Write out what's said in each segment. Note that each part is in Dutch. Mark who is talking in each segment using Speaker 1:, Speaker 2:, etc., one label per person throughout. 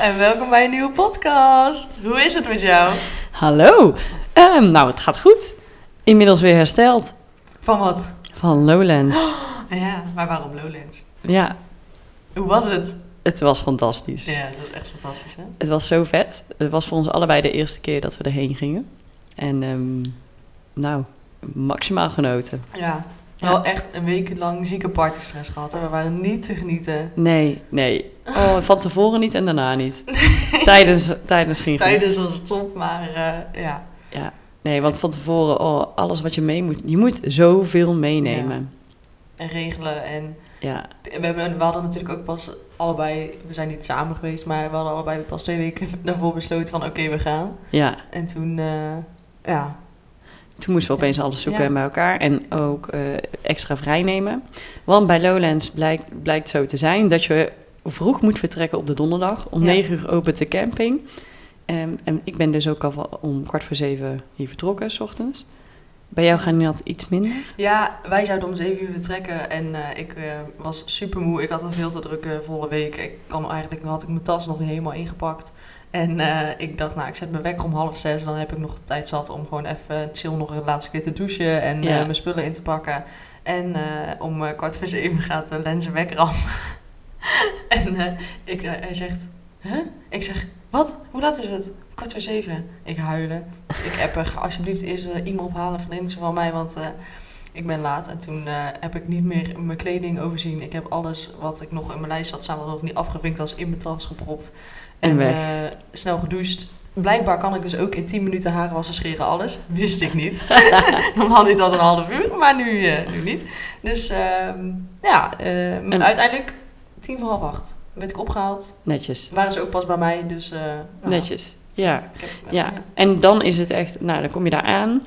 Speaker 1: en welkom bij een nieuwe podcast. Hoe is het met jou?
Speaker 2: Hallo. Ehm, nou, het gaat goed. Inmiddels weer hersteld
Speaker 1: Van wat?
Speaker 2: van Lowlands.
Speaker 1: Ah Ja, maar waarom Lowlands?
Speaker 2: Ja,
Speaker 1: Hoe was het?
Speaker 2: het was fantastisch.
Speaker 1: Ja, dat was echt fantastisch hè?
Speaker 2: Het was zo vet. Het was voor ons allebei de eerste keer dat we erheen gingen. En ehm, nou, maximaal genoten.
Speaker 1: Ja. Wel echt een week lang zieke partystress gehad. Hè? We waren niet te genieten.
Speaker 2: Nee, nee. Oh, van tevoren niet en daarna niet. Tijdens, tijdens ging het.
Speaker 1: Tijdens was het top, maar eh, ja.
Speaker 2: Nee, want van tevoren, oh, alles wat je mee moet. Je moet zoveel meenemen.
Speaker 1: En regelen en...
Speaker 2: Ja,
Speaker 1: We, hebben, we hadden natuurlijk ook pas allebei... We zijn niet samen geweest, maar we hadden allebei pas twee weken daarvoor besloten van... Oké, we gaan.
Speaker 2: ja.
Speaker 1: En toen, eh, ja.
Speaker 2: Toen moesten we opeens alles zoeken
Speaker 1: Ja.
Speaker 2: bij elkaar en ook eh, extra vrijnemen. Want bij Lowlands blijkt, blijkt zo te zijn dat je vroeg moet vertrekken op de donderdag. Om
Speaker 1: Ja.
Speaker 2: 9 uur opent de camping. En, en ik ben dus ook al van- om kwart voor zeven hier vertrokken, s ochtends. Bij jou gaan dat iets minder.
Speaker 1: Ja, wij zouden om zeven uur vertrekken en eh, ik eh, was super moe. Ik had een veel te drukke volle week. Ik kwam eigenlijk, had ik mijn tas nog niet helemaal ingepakt. En eh, ik dacht, nou, ik zet mijn wekker om half zes. Dan heb ik nog tijd zat om gewoon even chill nog een laatste keer te douchen en
Speaker 2: Ja.
Speaker 1: eh, mijn spullen in te pakken. En eh, om eh, kwart voor zeven gaat de lens zijn wekker af. en eh, ik, eh, hij zegt, huh? Ik zeg, wat? Hoe laat is het? Kwart voor zeven. Ik huilen. Dus ik heb er, alsjeblieft eerst eh, iemand ophalen, vriendinnetje van mij, want... eh, ik ben laat en toen eh, heb ik niet meer mijn kleding overzien. Ik heb alles wat ik nog in mijn lijst had staan, wat nog niet afgevinkt was, in mijn tas gepropt.
Speaker 2: En weg.
Speaker 1: eh, snel gedoucht. Blijkbaar kan ik dus ook in 10 minuten haren wassen, scheren, alles. Wist ik niet. Normaal deed dat een half uur, maar nu, eh, nu niet. Dus ehm, ja, ehm,
Speaker 2: En-
Speaker 1: uiteindelijk tien voor half acht werd ik opgehaald.
Speaker 2: Netjes.
Speaker 1: Waren ze ook pas bij mij, dus... eh, nou,
Speaker 2: Netjes. Ja.
Speaker 1: ik heb-
Speaker 2: ja. En dan is het echt, nou dan kom je daar aan.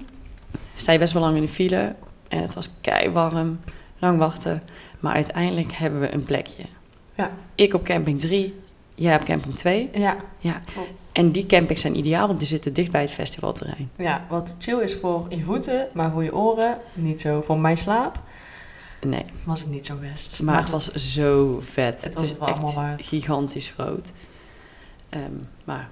Speaker 2: Sta je best wel lang in de file. En het was kei warm. Lang wachten. Maar uiteindelijk hebben we een plekje.
Speaker 1: Ja.
Speaker 2: Ik op camping 3. Jij op camping 2.
Speaker 1: Ja,
Speaker 2: Ja.
Speaker 1: klopt.
Speaker 2: En die campings zijn ideaal, want die zitten dicht bij het festivalterrein.
Speaker 1: Ja, wat chill is voor je voeten, maar voor je oren niet zo. Voor mijn slaap
Speaker 2: Nee,
Speaker 1: was het niet zo best.
Speaker 2: maar het was zo vet.
Speaker 1: Het was
Speaker 2: is
Speaker 1: het wel allemaal waard.
Speaker 2: gigantisch groot. Ehm, maar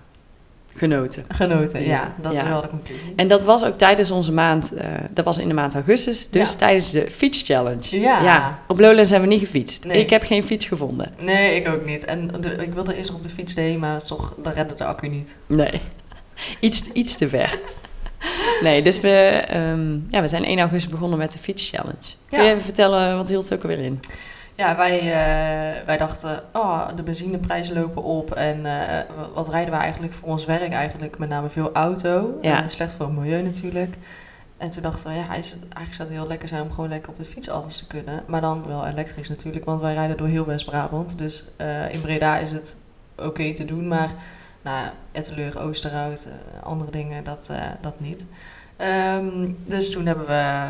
Speaker 2: genoten.
Speaker 1: genoten, ja.
Speaker 2: Ja,
Speaker 1: dat is
Speaker 2: ja.
Speaker 1: wel de conclusie.
Speaker 2: En dat was ook tijdens onze maand, eh, dat was in de maand augustus, dus
Speaker 1: Ja.
Speaker 2: tijdens de fietschallenge.
Speaker 1: Ja.
Speaker 2: Op Lowlands hebben we niet gefietst.
Speaker 1: Nee.
Speaker 2: Ik heb geen fiets gevonden.
Speaker 1: Nee, ik ook niet. En de- ik wilde eerst nog op de fiets heen, maar toch, dan redde de accu niet.
Speaker 2: Nee, iets, iets te ver. Nee, dus we, ehm, ja, we zijn 1 augustus begonnen met de fietschallenge. Kun
Speaker 1: Ja.
Speaker 2: je even vertellen, eh, wat hield het ook alweer in?
Speaker 1: Ja, wij, eh, wij dachten, oh, de benzineprijzen lopen op. En eh, wat rijden we eigenlijk voor ons werk eigenlijk? Met name veel auto.
Speaker 2: Ja.
Speaker 1: Eh, slecht voor het milieu natuurlijk. En toen dachten we, ja, is het, eigenlijk zou het heel lekker zijn om gewoon lekker op de fiets alles te kunnen. Maar dan wel elektrisch natuurlijk, want wij rijden door heel West-Brabant. Dus eh, in Breda is het oké te doen, maar nou, Etteleur, Oosterhout, eh, andere dingen, dat, eh, dat niet. Ehm, dus toen hebben we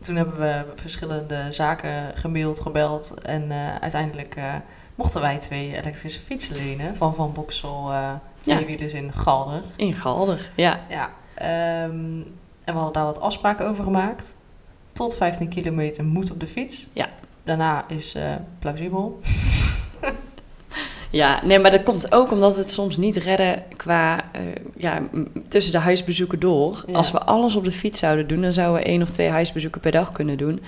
Speaker 1: toen hebben we verschillende zaken gemaild, gebeld. En eh, uiteindelijk eh, mochten wij twee elektrische fietsen lenen van Van Boksel, eh twee
Speaker 2: Ja.
Speaker 1: wielers in Galder.
Speaker 2: In Galder, ja.
Speaker 1: Ja, ehm, en we hadden daar wat afspraken over gemaakt. Tot 15 kilometer moet op de fiets.
Speaker 2: Ja.
Speaker 1: Daarna is eh, plausibel.
Speaker 2: Ja, nee, maar dat komt ook omdat we het soms niet redden qua eh, ja, m- tussen de huisbezoeken door.
Speaker 1: Ja.
Speaker 2: Als we alles op de fiets zouden doen, dan zouden we één of twee huisbezoeken per dag kunnen doen.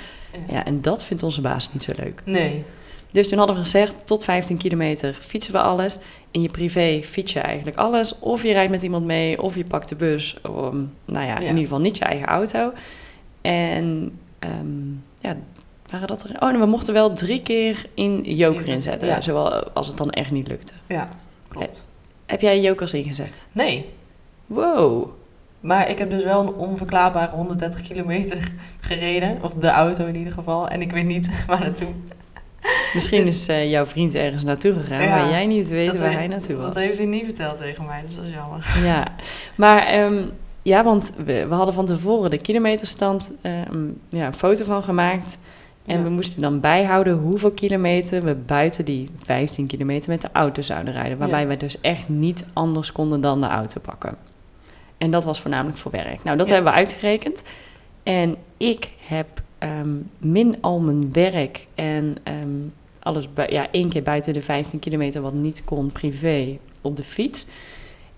Speaker 1: Ja.
Speaker 2: Ja. en dat vindt onze baas niet zo leuk.
Speaker 1: Nee,
Speaker 2: Dus toen hadden we gezegd, tot 15 kilometer fietsen we alles. In je privé fiets je eigenlijk alles. Of je rijdt met iemand mee, of je pakt de bus. Ehm, nou ja,
Speaker 1: Ja.
Speaker 2: in ieder geval niet je eigen auto. En ehm, ja, waren dat er... Oh, en we mochten wel drie keer in joker
Speaker 1: Ja.
Speaker 2: inzetten.
Speaker 1: Ja.
Speaker 2: Zowel als het dan echt niet lukte.
Speaker 1: klopt.
Speaker 2: Heb jij jokers ingezet?
Speaker 1: Nee,
Speaker 2: Wow.
Speaker 1: maar ik heb dus wel een onverklaarbare 130 kilometer gereden. Of de auto in ieder geval. En ik weet niet waar naartoe.
Speaker 2: Misschien is eh, jouw vriend ergens naartoe gegaan
Speaker 1: Dus Ja,
Speaker 2: waar jij niet weet
Speaker 1: Dat
Speaker 2: waar
Speaker 1: he-
Speaker 2: hij naartoe was.
Speaker 1: Dat heeft hij niet verteld tegen mij, dus dat is jammer.
Speaker 2: Ja, maar ehm, ja, want we, we hadden van tevoren de kilometerstand ehm, ja, een foto van gemaakt. En
Speaker 1: Ja.
Speaker 2: we moesten dan bijhouden hoeveel kilometer we buiten die 15 kilometer met de auto zouden rijden. Waarbij
Speaker 1: Ja.
Speaker 2: we dus echt niet anders konden dan de auto pakken. En dat was voornamelijk voor werk. Nou, dat
Speaker 1: Ja.
Speaker 2: hebben we uitgerekend. En ik heb ehm, min al mijn werk en ehm, alles bui- ja, één keer buiten de 15 kilometer, wat niet kon privé, op de fiets.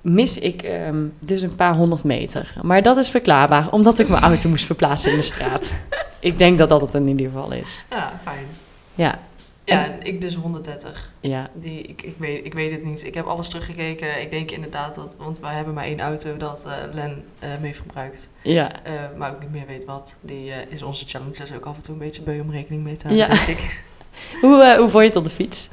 Speaker 2: Mis ik ehm, dus een paar honderd meter. Maar dat is verklaarbaar, omdat ik mijn auto moest verplaatsen in de straat. Ik denk dat dat het in ieder geval is.
Speaker 1: Ja, fijn.
Speaker 2: Ja,
Speaker 1: Ja, en ik dus 130.
Speaker 2: ja.
Speaker 1: Die, ik, ik, weet, ik weet het niet. Ik heb alles teruggekeken. Ik denk inderdaad dat, want wij hebben maar één auto dat eh, Len eh, mee heeft gebruikt.
Speaker 2: Ja,
Speaker 1: Eh, maar ook niet meer weet wat. Die eh, is onze challenge dus ook af en toe een beetje beu om rekening mee te houden,
Speaker 2: Ja.
Speaker 1: denk ik.
Speaker 2: hoe, eh, hoe vond je het op de fiets?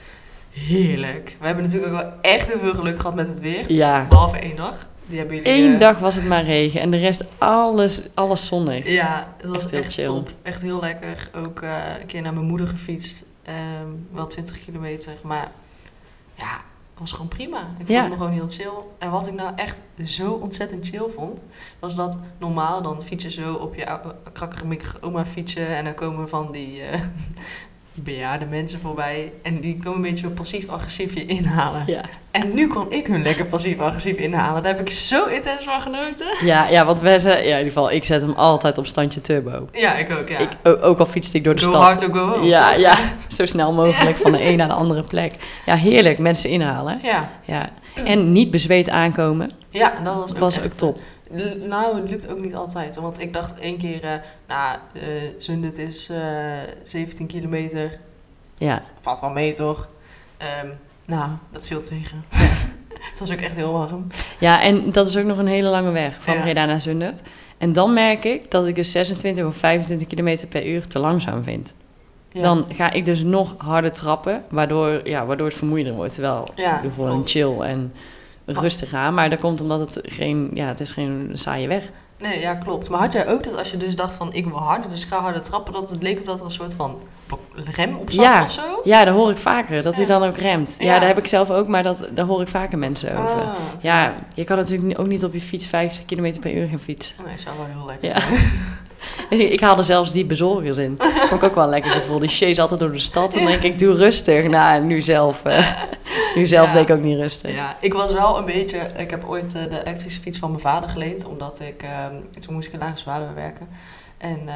Speaker 1: Heerlijk. We hebben natuurlijk ook wel echt heel veel geluk gehad met het weer.
Speaker 2: Ja,
Speaker 1: Behalve één dag. Die hebben jullie...
Speaker 2: één
Speaker 1: eh,
Speaker 2: dag was het maar regen en de rest alles, alles zonnig.
Speaker 1: Ja, dat was
Speaker 2: Echt
Speaker 1: echt,
Speaker 2: heel chill.
Speaker 1: top. Echt heel lekker. Ook eh, een keer naar mijn moeder gefietst. Ehm, wel 20 kilometer. Maar ja, was gewoon prima. Ik voelde
Speaker 2: Ja.
Speaker 1: me gewoon heel chill. En wat ik nou echt zo ontzettend chill vond, was dat normaal dan fiets je zo op je ou- krakkemikkige oma fietsen. En dan komen van die eh bejaarde mensen voorbij. En die komen een beetje zo passief-agressief je inhalen.
Speaker 2: Ja.
Speaker 1: En nu kon ik hun lekker passief-agressief inhalen. Daar heb ik zo intens van genoten.
Speaker 2: Ja, ja, want wij zijn, ja, in ieder geval, ik zet hem altijd op standje turbo.
Speaker 1: Ja, ik ook, ja.
Speaker 2: Ik, o- ook al fietste ik door de
Speaker 1: Go
Speaker 2: stad.
Speaker 1: hard to go home,
Speaker 2: ja,
Speaker 1: toch?
Speaker 2: ja, zo snel mogelijk van de een naar de andere plek. Ja, heerlijk, mensen inhalen.
Speaker 1: Ja,
Speaker 2: Ja. En niet bezweet aankomen,
Speaker 1: ja dat was ook,
Speaker 2: was
Speaker 1: echt,
Speaker 2: ook top.
Speaker 1: L- Nou, het lukt ook niet altijd. hoor. Want ik dacht één keer, eh, nou, eh Zundert is eh, 17 kilometer.
Speaker 2: Ja,
Speaker 1: Valt wel mee, toch? Ehm, nou, dat viel tegen. het was ook echt heel warm.
Speaker 2: ja en dat is ook nog een hele lange weg van
Speaker 1: Ja.
Speaker 2: Breda naar Zundert. En dan merk ik dat ik dus 26 of 25 kilometer per uur te langzaam vind.
Speaker 1: Ja.
Speaker 2: Dan ga ik dus nog harder trappen, waardoor, ja, waardoor het vermoeiender wordt. Terwijl
Speaker 1: Ja,
Speaker 2: ik doe gewoon
Speaker 1: klopt.
Speaker 2: chill en rustig aan. Maar dat komt omdat het geen, ja, het is geen saaie weg.
Speaker 1: Nee, ja, klopt. Maar had jij ook dat als je dus dacht van, ik wil harder, dus ik ga harder trappen, dat het leek of dat er een soort van rem op zat
Speaker 2: Ja.
Speaker 1: of zo?
Speaker 2: Ja, dat hoor ik vaker, dat hij
Speaker 1: Ja.
Speaker 2: dan ook remt. Ja,
Speaker 1: Ja.
Speaker 2: dat heb ik zelf ook, maar dat, daar hoor ik vaker mensen over.
Speaker 1: Ah.
Speaker 2: Ja, je kan natuurlijk ni- ook niet op je fiets 50 km per uur gaan fietsen.
Speaker 1: Oh, Nee, zou wel heel lekker
Speaker 2: Ja.
Speaker 1: zijn.
Speaker 2: ik haalde zelfs die bezorgers in. Vond ik ook wel een lekker gevoel. Die chase altijd door de stad. Dan denk ik, doe rustig. Nou, en nu zelf, eh, nu zelf
Speaker 1: Ja.
Speaker 2: denk ik ook niet rustig. Ja.
Speaker 1: Ja, ik was wel een beetje. Ik heb ooit eh, de elektrische fiets van mijn vader geleend, omdat ik. ehm, toen moest ik in Lage Zwaluwe werken. En eh,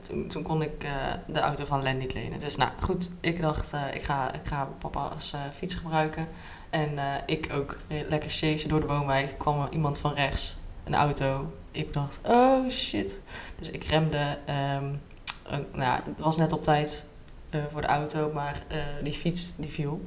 Speaker 1: toen, toen kon ik eh, de auto van Len niet lenen. Dus nou goed, ik dacht, eh, ik, ga, ik ga papa's eh, fiets gebruiken. En eh, ik ook eh, lekker chase door de woonwijk. kwam er iemand van rechts, een auto. Ik dacht, oh shit. Dus ik remde. ehm, een- nou, ja, het was net op tijd eh, voor de auto, maar eh, die fiets die viel.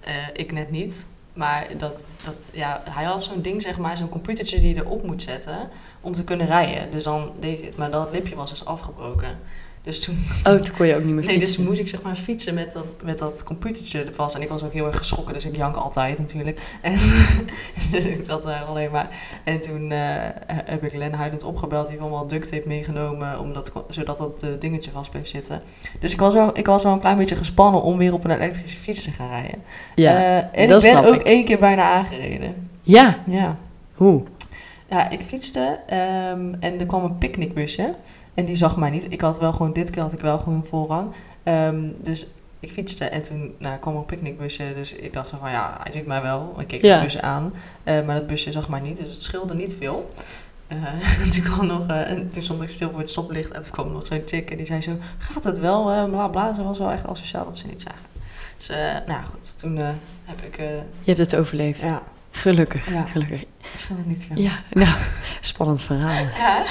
Speaker 1: Eh, ik net niet. Maar dat, dat, ja, hij had zo'n ding, zeg maar, zo'n computertje die je erop moet zetten om te kunnen rijden. Dus dan deed hij het. Maar dat lipje was dus afgebroken. Dus toen,
Speaker 2: Oh, toen kon je ook niet meer
Speaker 1: nee, dus
Speaker 2: fietsen.
Speaker 1: moest ik zeg maar fietsen met dat, met dat computertje er vast. En ik was ook heel erg geschrokken, dus ik jank altijd natuurlijk. En dus ik zat daar alleen maar. En toen eh, heb ik Len huilend opgebeld, die van wel duct tape meegenomen, omdat, zodat dat eh, dingetje vast bleef zitten. Dus ik was, wel, ik was wel een klein beetje gespannen om weer op een elektrische fiets te gaan rijden.
Speaker 2: ja.
Speaker 1: Eh, en
Speaker 2: dat
Speaker 1: ik ben
Speaker 2: snap
Speaker 1: ook
Speaker 2: ik.
Speaker 1: één keer bijna aangereden.
Speaker 2: ja,
Speaker 1: Ja.
Speaker 2: hoe?
Speaker 1: Ja, ik fietste ehm, en er kwam een picknickbusje. En die zag mij niet. Ik had wel gewoon, dit keer had ik wel gewoon voorrang. Ehm, dus ik fietste en toen nou, kwam er een picknickbusje. Dus ik dacht van ja, hij ziet mij wel. Ik keek
Speaker 2: Ja.
Speaker 1: het busje aan. Eh, maar dat busje zag mij niet. Dus het scheelde niet veel. Eh, en toen, kwam nog, eh, en toen stond ik stil voor het stoplicht. En toen kwam nog zo'n chick en die zei zo... Gaat het wel? eh, bla bla. Ze was wel echt asociaal dat ze niet zagen. Dus eh, nou goed, toen eh, heb ik... eh,
Speaker 2: Je hebt het overleefd.
Speaker 1: ja,
Speaker 2: Gelukkig,
Speaker 1: ja,
Speaker 2: gelukkig.
Speaker 1: het scheelde niet veel.
Speaker 2: Ja, nou, spannend verhaal.
Speaker 1: Ja.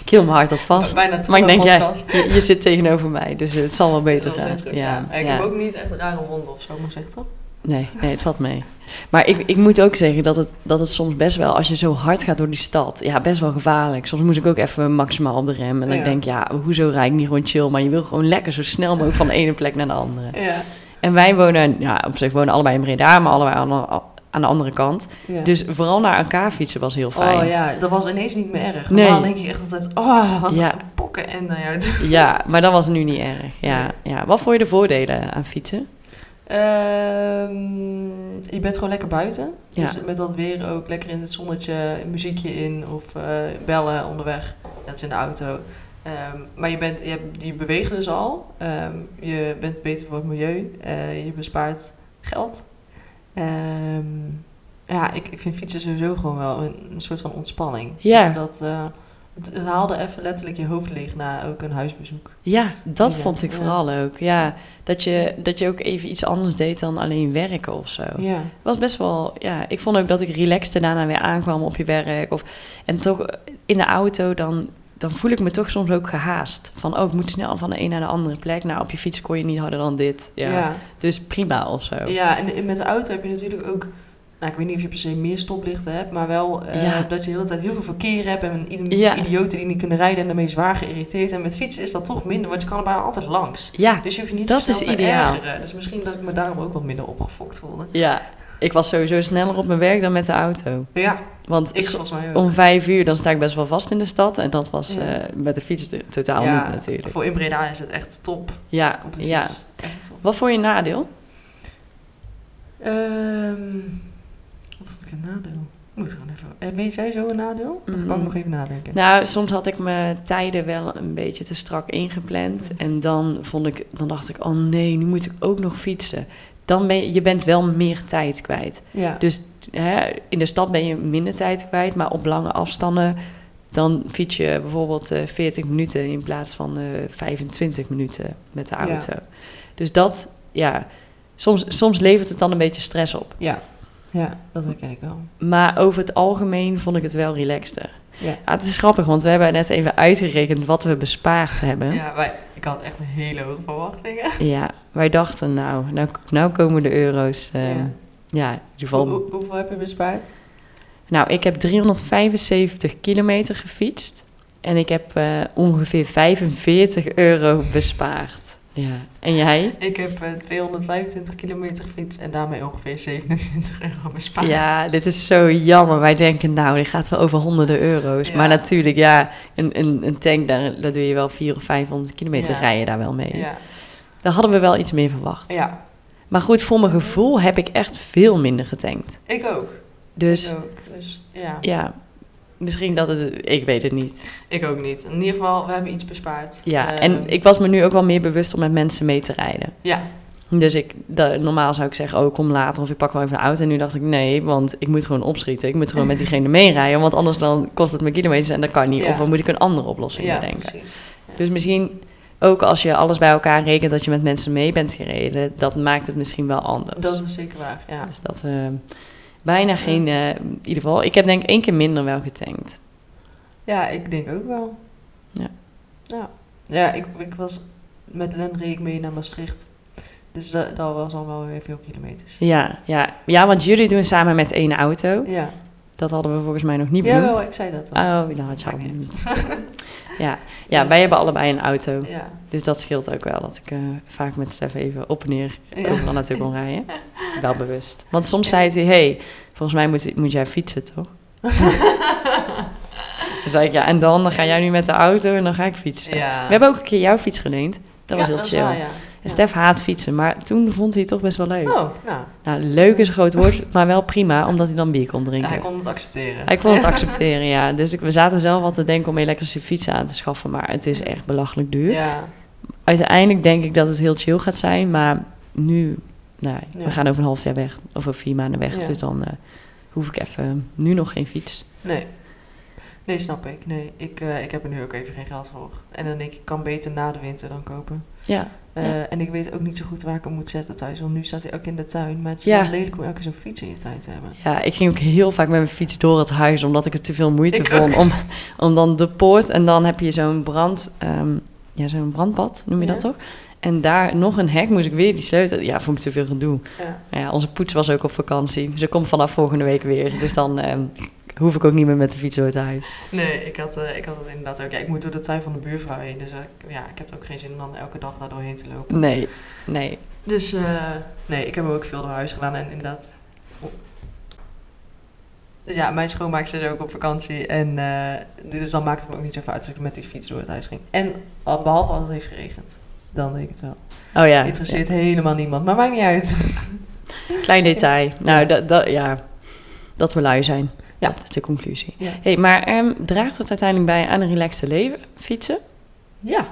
Speaker 2: Ik hield mijn hart al vast.
Speaker 1: Bijna
Speaker 2: Maar ik denk,
Speaker 1: ja,
Speaker 2: jij, je, je zit tegenover mij, dus het zal wel beter gaan.
Speaker 1: ja. Ik
Speaker 2: ja.
Speaker 1: heb ook niet echt rare wonden of zo, moet ik zeggen, toch?
Speaker 2: Nee, nee, het valt mee. Maar ik, ik moet ook zeggen dat het, dat het soms best wel, als je zo hard gaat door die stad, ja, best wel gevaarlijk. Soms moest ik ook even maximaal op de rem. En dan
Speaker 1: Ja.
Speaker 2: denk ik, ja, hoezo rijd ik niet gewoon chill? Maar je wil gewoon lekker zo snel mogelijk van de ene plek naar de andere.
Speaker 1: Ja.
Speaker 2: En wij wonen, ja, op zich wonen allebei in Breda, maar allebei aan de, aan de andere kant. Dus vooral naar elkaar fietsen was heel fijn.
Speaker 1: Oh ja, dat was ineens niet meer erg.
Speaker 2: Nee.
Speaker 1: Normaal denk ik echt altijd, oh, wat
Speaker 2: Ja.
Speaker 1: een pokken en nou uit.
Speaker 2: Ja, maar dat was nu niet erg. Ja, ja. Wat vond je de voordelen aan fietsen?
Speaker 1: Ehm, je bent gewoon lekker buiten.
Speaker 2: Ja.
Speaker 1: Dus met dat weer ook lekker in het zonnetje, muziekje in of eh, bellen onderweg. Dat is in de auto. Ehm, maar je, bent, je, hebt- je beweegt dus al. Ehm, je bent beter voor het milieu. Eh, je bespaart geld. Ehm, ja, ik, ik vind fietsen sowieso gewoon wel een, een soort van ontspanning.
Speaker 2: Ja.
Speaker 1: Dus dat, eh, Het het haalde even letterlijk je hoofd leeg na ook een huisbezoek.
Speaker 2: Ja, dat
Speaker 1: Ja,
Speaker 2: vond ik
Speaker 1: ja.
Speaker 2: vooral ook. Ja, dat je, dat je ook even iets anders deed dan alleen werken of zo.
Speaker 1: Ja.
Speaker 2: was best wel, ja, ik vond ook dat ik relaxed daarna weer aankwam op je werk. Of, en toch in de auto, dan, dan voel ik me toch soms ook gehaast. Van, oh, ik moet snel van de een naar de andere plek. Nou, op je fiets kon je niet harder dan dit. Ja.
Speaker 1: Ja. ja.
Speaker 2: Dus prima of zo.
Speaker 1: en en met de auto heb je natuurlijk ook... Nou, ik weet niet of je per se meer stoplichten hebt, maar wel eh,
Speaker 2: Ja.
Speaker 1: dat je de hele tijd heel veel verkeer hebt en i-
Speaker 2: Ja.
Speaker 1: idioten die niet kunnen rijden en daarmee zwaar geïrriteerd. En met fietsen is dat toch minder, want je kan er bijna altijd langs.
Speaker 2: Ja,
Speaker 1: Dus je hoeft je niet
Speaker 2: Dat
Speaker 1: zo snel
Speaker 2: is
Speaker 1: te
Speaker 2: ideaal.
Speaker 1: ergeren. Dus misschien dat ik me daarom ook wat minder opgefokt voelde.
Speaker 2: ja. Ik was sowieso sneller op mijn werk dan met de auto.
Speaker 1: Ja,
Speaker 2: Want
Speaker 1: ik
Speaker 2: s-
Speaker 1: volgens mij ook.
Speaker 2: om vijf uur, dan sta ik best wel vast in de stad. En dat was
Speaker 1: Ja.
Speaker 2: eh, met de fiets t- totaal
Speaker 1: ja,
Speaker 2: niet natuurlijk.
Speaker 1: Voor in Breda is het echt top
Speaker 2: Ja,
Speaker 1: op de fiets.
Speaker 2: ja.
Speaker 1: Echt top.
Speaker 2: Wat voor je nadeel?
Speaker 1: Ehm, wat vond ik een nadeel? Ik Moet gewoon even. eh, Weet jij zo een nadeel? Of kan
Speaker 2: Mm.
Speaker 1: ik nog even nadenken?
Speaker 2: Nou, soms had ik mijn tijden wel een beetje te strak ingepland. En dan, vond ik, dan dacht ik, oh nee, nu moet ik ook nog fietsen. Dan ben je, je bent wel meer tijd kwijt.
Speaker 1: ja.
Speaker 2: Dus hè, in de stad ben je minder tijd kwijt, maar op lange afstanden... dan fiets je bijvoorbeeld eh, 40 minuten in plaats van eh, 25 minuten met de
Speaker 1: Ja.
Speaker 2: auto. Dus dat, ja, soms, soms levert het dan een beetje stress op.
Speaker 1: ja. Ja, dat herken ik wel.
Speaker 2: Maar over het algemeen vond ik het wel relaxter.
Speaker 1: Ja.
Speaker 2: Ah, het is grappig, want we hebben net even uitgerekend wat we bespaard hebben. Ja.
Speaker 1: Ja, wij, ik had echt hele hoge verwachtingen.
Speaker 2: wij dachten, nou, nou, nou komen de euro's. eh,
Speaker 1: Ja.
Speaker 2: ja. in ieder
Speaker 1: Hoe,
Speaker 2: geval.
Speaker 1: hoe- hoeveel heb je bespaard?
Speaker 2: Nou, ik heb 375 kilometer gefietst. En ik heb eh, ongeveer 45 euro bespaard. Ja. En jij?
Speaker 1: Ik heb eh, 225 kilometer gefietst en daarmee ongeveer 27 euro bespaard.
Speaker 2: Ja, dit is zo jammer. Wij denken, nou, dit gaat wel over honderden euro's.
Speaker 1: Ja.
Speaker 2: Maar natuurlijk, ja, een, een, een tank, daar, daar doe je wel 400 of 500 kilometer
Speaker 1: Ja.
Speaker 2: rijden daar wel mee.
Speaker 1: Ja.
Speaker 2: Daar hadden we wel iets meer verwacht.
Speaker 1: ja,
Speaker 2: Maar goed, voor mijn gevoel heb ik echt veel minder getankt.
Speaker 1: ik ook.
Speaker 2: Dus
Speaker 1: Ik ook. Dus ja,
Speaker 2: ja, misschien dat het... Ik weet het niet.
Speaker 1: ik ook niet. In ieder geval, we hebben iets bespaard.
Speaker 2: Ja,
Speaker 1: Ehm,
Speaker 2: en ik was me nu ook wel meer bewust om met mensen mee te rijden.
Speaker 1: Ja,
Speaker 2: Dus ik, da- normaal zou ik zeggen, oh, kom later of ik pak wel even een auto. En nu dacht ik, nee, want ik moet gewoon opschieten. Ik moet gewoon met diegene meerijden, want anders dan kost het me kilometers en dat kan niet.
Speaker 1: Ja.
Speaker 2: Of dan moet ik een andere oplossing
Speaker 1: ja
Speaker 2: bedenken.
Speaker 1: precies.
Speaker 2: Dus misschien ook als je alles bij elkaar rekent dat je met mensen mee bent gereden, dat maakt het misschien wel anders.
Speaker 1: Dat is zeker waar, ja.
Speaker 2: Dus dat we bijna geen, eh, in ieder geval, ik heb denk ik één keer minder wel getankt.
Speaker 1: Ja, ik denk ook wel.
Speaker 2: Ja.
Speaker 1: Ja, ja ik, ik was met Len reed ik mee naar Maastricht. Dus dat, dat was dan wel weer veel kilometers.
Speaker 2: Ja, ja. ja, want jullie doen samen met één auto.
Speaker 1: Ja,
Speaker 2: Dat hadden we volgens mij nog niet benoemd.
Speaker 1: Jawel, ik zei dat dan.
Speaker 2: Oh, dat had je al
Speaker 1: Maakt niet
Speaker 2: benoemd. Ja. ja, wij hebben allebei een auto.
Speaker 1: Ja.
Speaker 2: Dus dat scheelt ook wel, dat ik eh, vaak met Stef even op en neer
Speaker 1: Ja.
Speaker 2: overal naartoe kon rijden. Wel bewust. Want soms zei hij, hey, volgens mij moet, moet jij fietsen, toch? Dan zei ik, ja, en dan? Dan ga jij nu met de auto en dan ga ik fietsen.
Speaker 1: ja.
Speaker 2: We hebben ook een keer jouw fiets geleend. Dat was
Speaker 1: Ja,
Speaker 2: heel
Speaker 1: is
Speaker 2: chill.
Speaker 1: waar, ja.
Speaker 2: En Stef haat fietsen, maar toen vond hij het toch best wel leuk.
Speaker 1: Oh, nou,
Speaker 2: Nou, leuk is een groot woord, maar wel prima, omdat hij dan bier kon drinken.
Speaker 1: hij kon het accepteren.
Speaker 2: Hij kon het accepteren, ja. Dus ik- we zaten zelf al te denken om elektrische fietsen aan te schaffen, maar het is echt belachelijk duur.
Speaker 1: Ja,
Speaker 2: Uiteindelijk denk ik dat het heel chill gaat zijn, maar nu, nou,
Speaker 1: Ja.
Speaker 2: we gaan over een half jaar weg, of over vier maanden weg,
Speaker 1: Ja.
Speaker 2: dus dan eh, hoef ik even nu nog geen fiets.
Speaker 1: nee. Nee, snap ik. Nee, ik, eh, ik heb er nu ook even geen geld voor. En dan denk ik, ik kan beter na de winter dan kopen.
Speaker 2: Ja,
Speaker 1: Eh,
Speaker 2: Ja.
Speaker 1: En ik weet ook niet zo goed waar ik hem moet zetten thuis. Want nu staat hij ook in de tuin. Maar het is
Speaker 2: Ja.
Speaker 1: wel lelijk om elke keer zo'n fiets in je tuin te hebben.
Speaker 2: ja, ik ging ook heel vaak met mijn fiets door het huis, omdat ik het te veel moeite
Speaker 1: Ik
Speaker 2: vond om, om dan de poort en dan heb je zo'n brand, ehm, ja, zo'n brandpad, noem je
Speaker 1: Ja.
Speaker 2: dat toch? En daar nog een hek moest ik weer die sleutel. Ja, vond ik te veel gedoe.
Speaker 1: Ja.
Speaker 2: Ja, onze poets was ook op vakantie. Ze komt vanaf volgende week weer. Dus dan ehm, hoef ik ook niet meer met de fiets door het huis.
Speaker 1: Nee, ik had, eh, ik had het inderdaad ook. Ja, ik moet door de tuin van de buurvrouw heen. Dus eh, ik- ja, ik heb er ook geen zin om dan elke dag daar doorheen te lopen.
Speaker 2: Nee, nee.
Speaker 1: Dus eh, nee, ik heb hem ook veel door huis gedaan. En inderdaad... oh. Dus ja, mijn schoonmaakster is ook op vakantie. En eh, dus dan maakte het me ook niet zoveel uit dat ik met die fiets door het huis ging. En al- behalve als het heeft geregend. Dan deed ik het wel.
Speaker 2: Oh ja,
Speaker 1: Interesseert helemaal niemand. Maar maakt niet uit.
Speaker 2: ja, klein detail. Nou, dat, dat, ja, dat we lui zijn.
Speaker 1: Ja.
Speaker 2: Dat is de conclusie.
Speaker 1: Ja.
Speaker 2: Hey, maar ehm, draagt het uiteindelijk bij aan een relaxte leven, fietsen?
Speaker 1: Ja,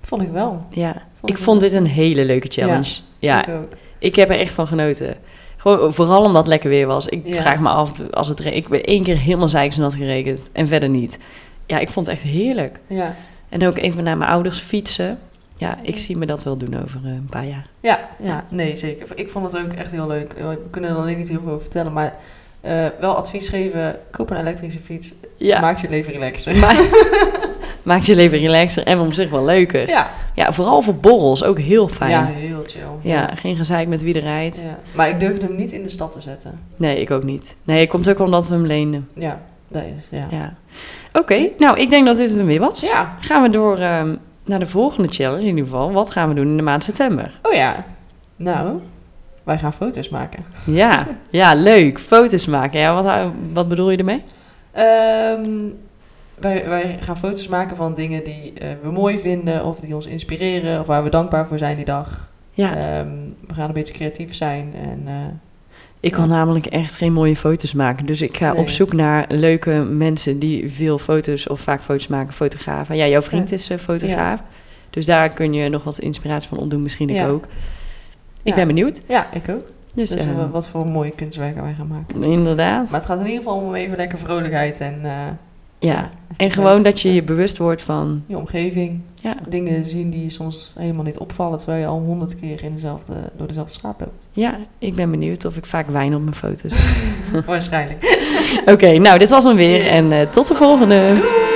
Speaker 1: vond ik wel.
Speaker 2: Ja.
Speaker 1: Vond
Speaker 2: ik
Speaker 1: ik
Speaker 2: vond dit een hele leuke challenge. Ja,
Speaker 1: Ik ook.
Speaker 2: ik heb er echt van genoten. Gewoon, vooral omdat het lekker weer was. Ik
Speaker 1: Ja.
Speaker 2: vraag me af, als het re- ik ben één keer helemaal zeiknat geregend en verder niet. ja, ik vond het echt heerlijk.
Speaker 1: Ja.
Speaker 2: En ook even naar mijn ouders fietsen. Ja, ik zie me dat wel doen over eh, een paar jaar.
Speaker 1: Ja, ja, nee, zeker. Ik vond het ook echt heel leuk. We kunnen er alleen niet heel veel over vertellen, maar eh, wel advies geven. Koop een elektrische fiets.
Speaker 2: Ja,
Speaker 1: Maak je leven relaxer.
Speaker 2: maar, maakt je leven relaxer en om zich wel leuker. Ja,
Speaker 1: Ja,
Speaker 2: vooral voor borrels ook heel fijn.
Speaker 1: ja,
Speaker 2: Ja,
Speaker 1: heel chill.
Speaker 2: geen gezeik met wie er rijdt.
Speaker 1: Ja. Maar ik durfde hem niet in de stad te zetten.
Speaker 2: Nee, ik ook niet. Nee, het komt ook omdat we hem leenden.
Speaker 1: Ja, dat is, ja.
Speaker 2: Ja. Oké, nou, ik denk dat dit het hem weer was.
Speaker 1: Ja,
Speaker 2: Gaan we door ehm, naar de volgende challenge in ieder geval. Wat gaan we doen in de maand september?
Speaker 1: oh ja. Nou, wij gaan foto's maken.
Speaker 2: Ja, ja leuk. Foto's maken. Ja, wat, wat bedoel je ermee?
Speaker 1: Ehm, wij, wij gaan foto's maken van dingen die eh, we mooi vinden of die ons inspireren of waar we dankbaar voor zijn die dag.
Speaker 2: Ja,
Speaker 1: Ehm, we gaan een beetje creatief zijn en eh,
Speaker 2: ik kan namelijk echt geen mooie foto's maken. Dus ik ga
Speaker 1: Nee.
Speaker 2: op zoek naar leuke mensen die veel foto's of vaak foto's maken, fotografen. Ja, jouw vriend is eh, fotograaf. Dus daar kun je nog wat inspiratie van opdoen, misschien
Speaker 1: Ja.
Speaker 2: ik ook. Ik
Speaker 1: Ja.
Speaker 2: ben benieuwd.
Speaker 1: ja, ik ook.
Speaker 2: Dus,
Speaker 1: Dus, eh,
Speaker 2: eh,
Speaker 1: wat voor mooie kunstwerken wij gaan maken.
Speaker 2: inderdaad.
Speaker 1: Maar het gaat in ieder geval om even lekker vrolijkheid en, eh,
Speaker 2: ja. En
Speaker 1: even
Speaker 2: gewoon dat je je bewust wordt van...
Speaker 1: je omgeving.
Speaker 2: Ja,
Speaker 1: Dingen zien die je soms helemaal niet opvallen, terwijl je al honderd keer in dezelfde, door dezelfde straat loopt.
Speaker 2: ja, ik ben benieuwd of ik vaak wijn op mijn foto's
Speaker 1: Waarschijnlijk.
Speaker 2: Oké, nou, dit was hem weer. En eh, tot de volgende.
Speaker 1: Doei!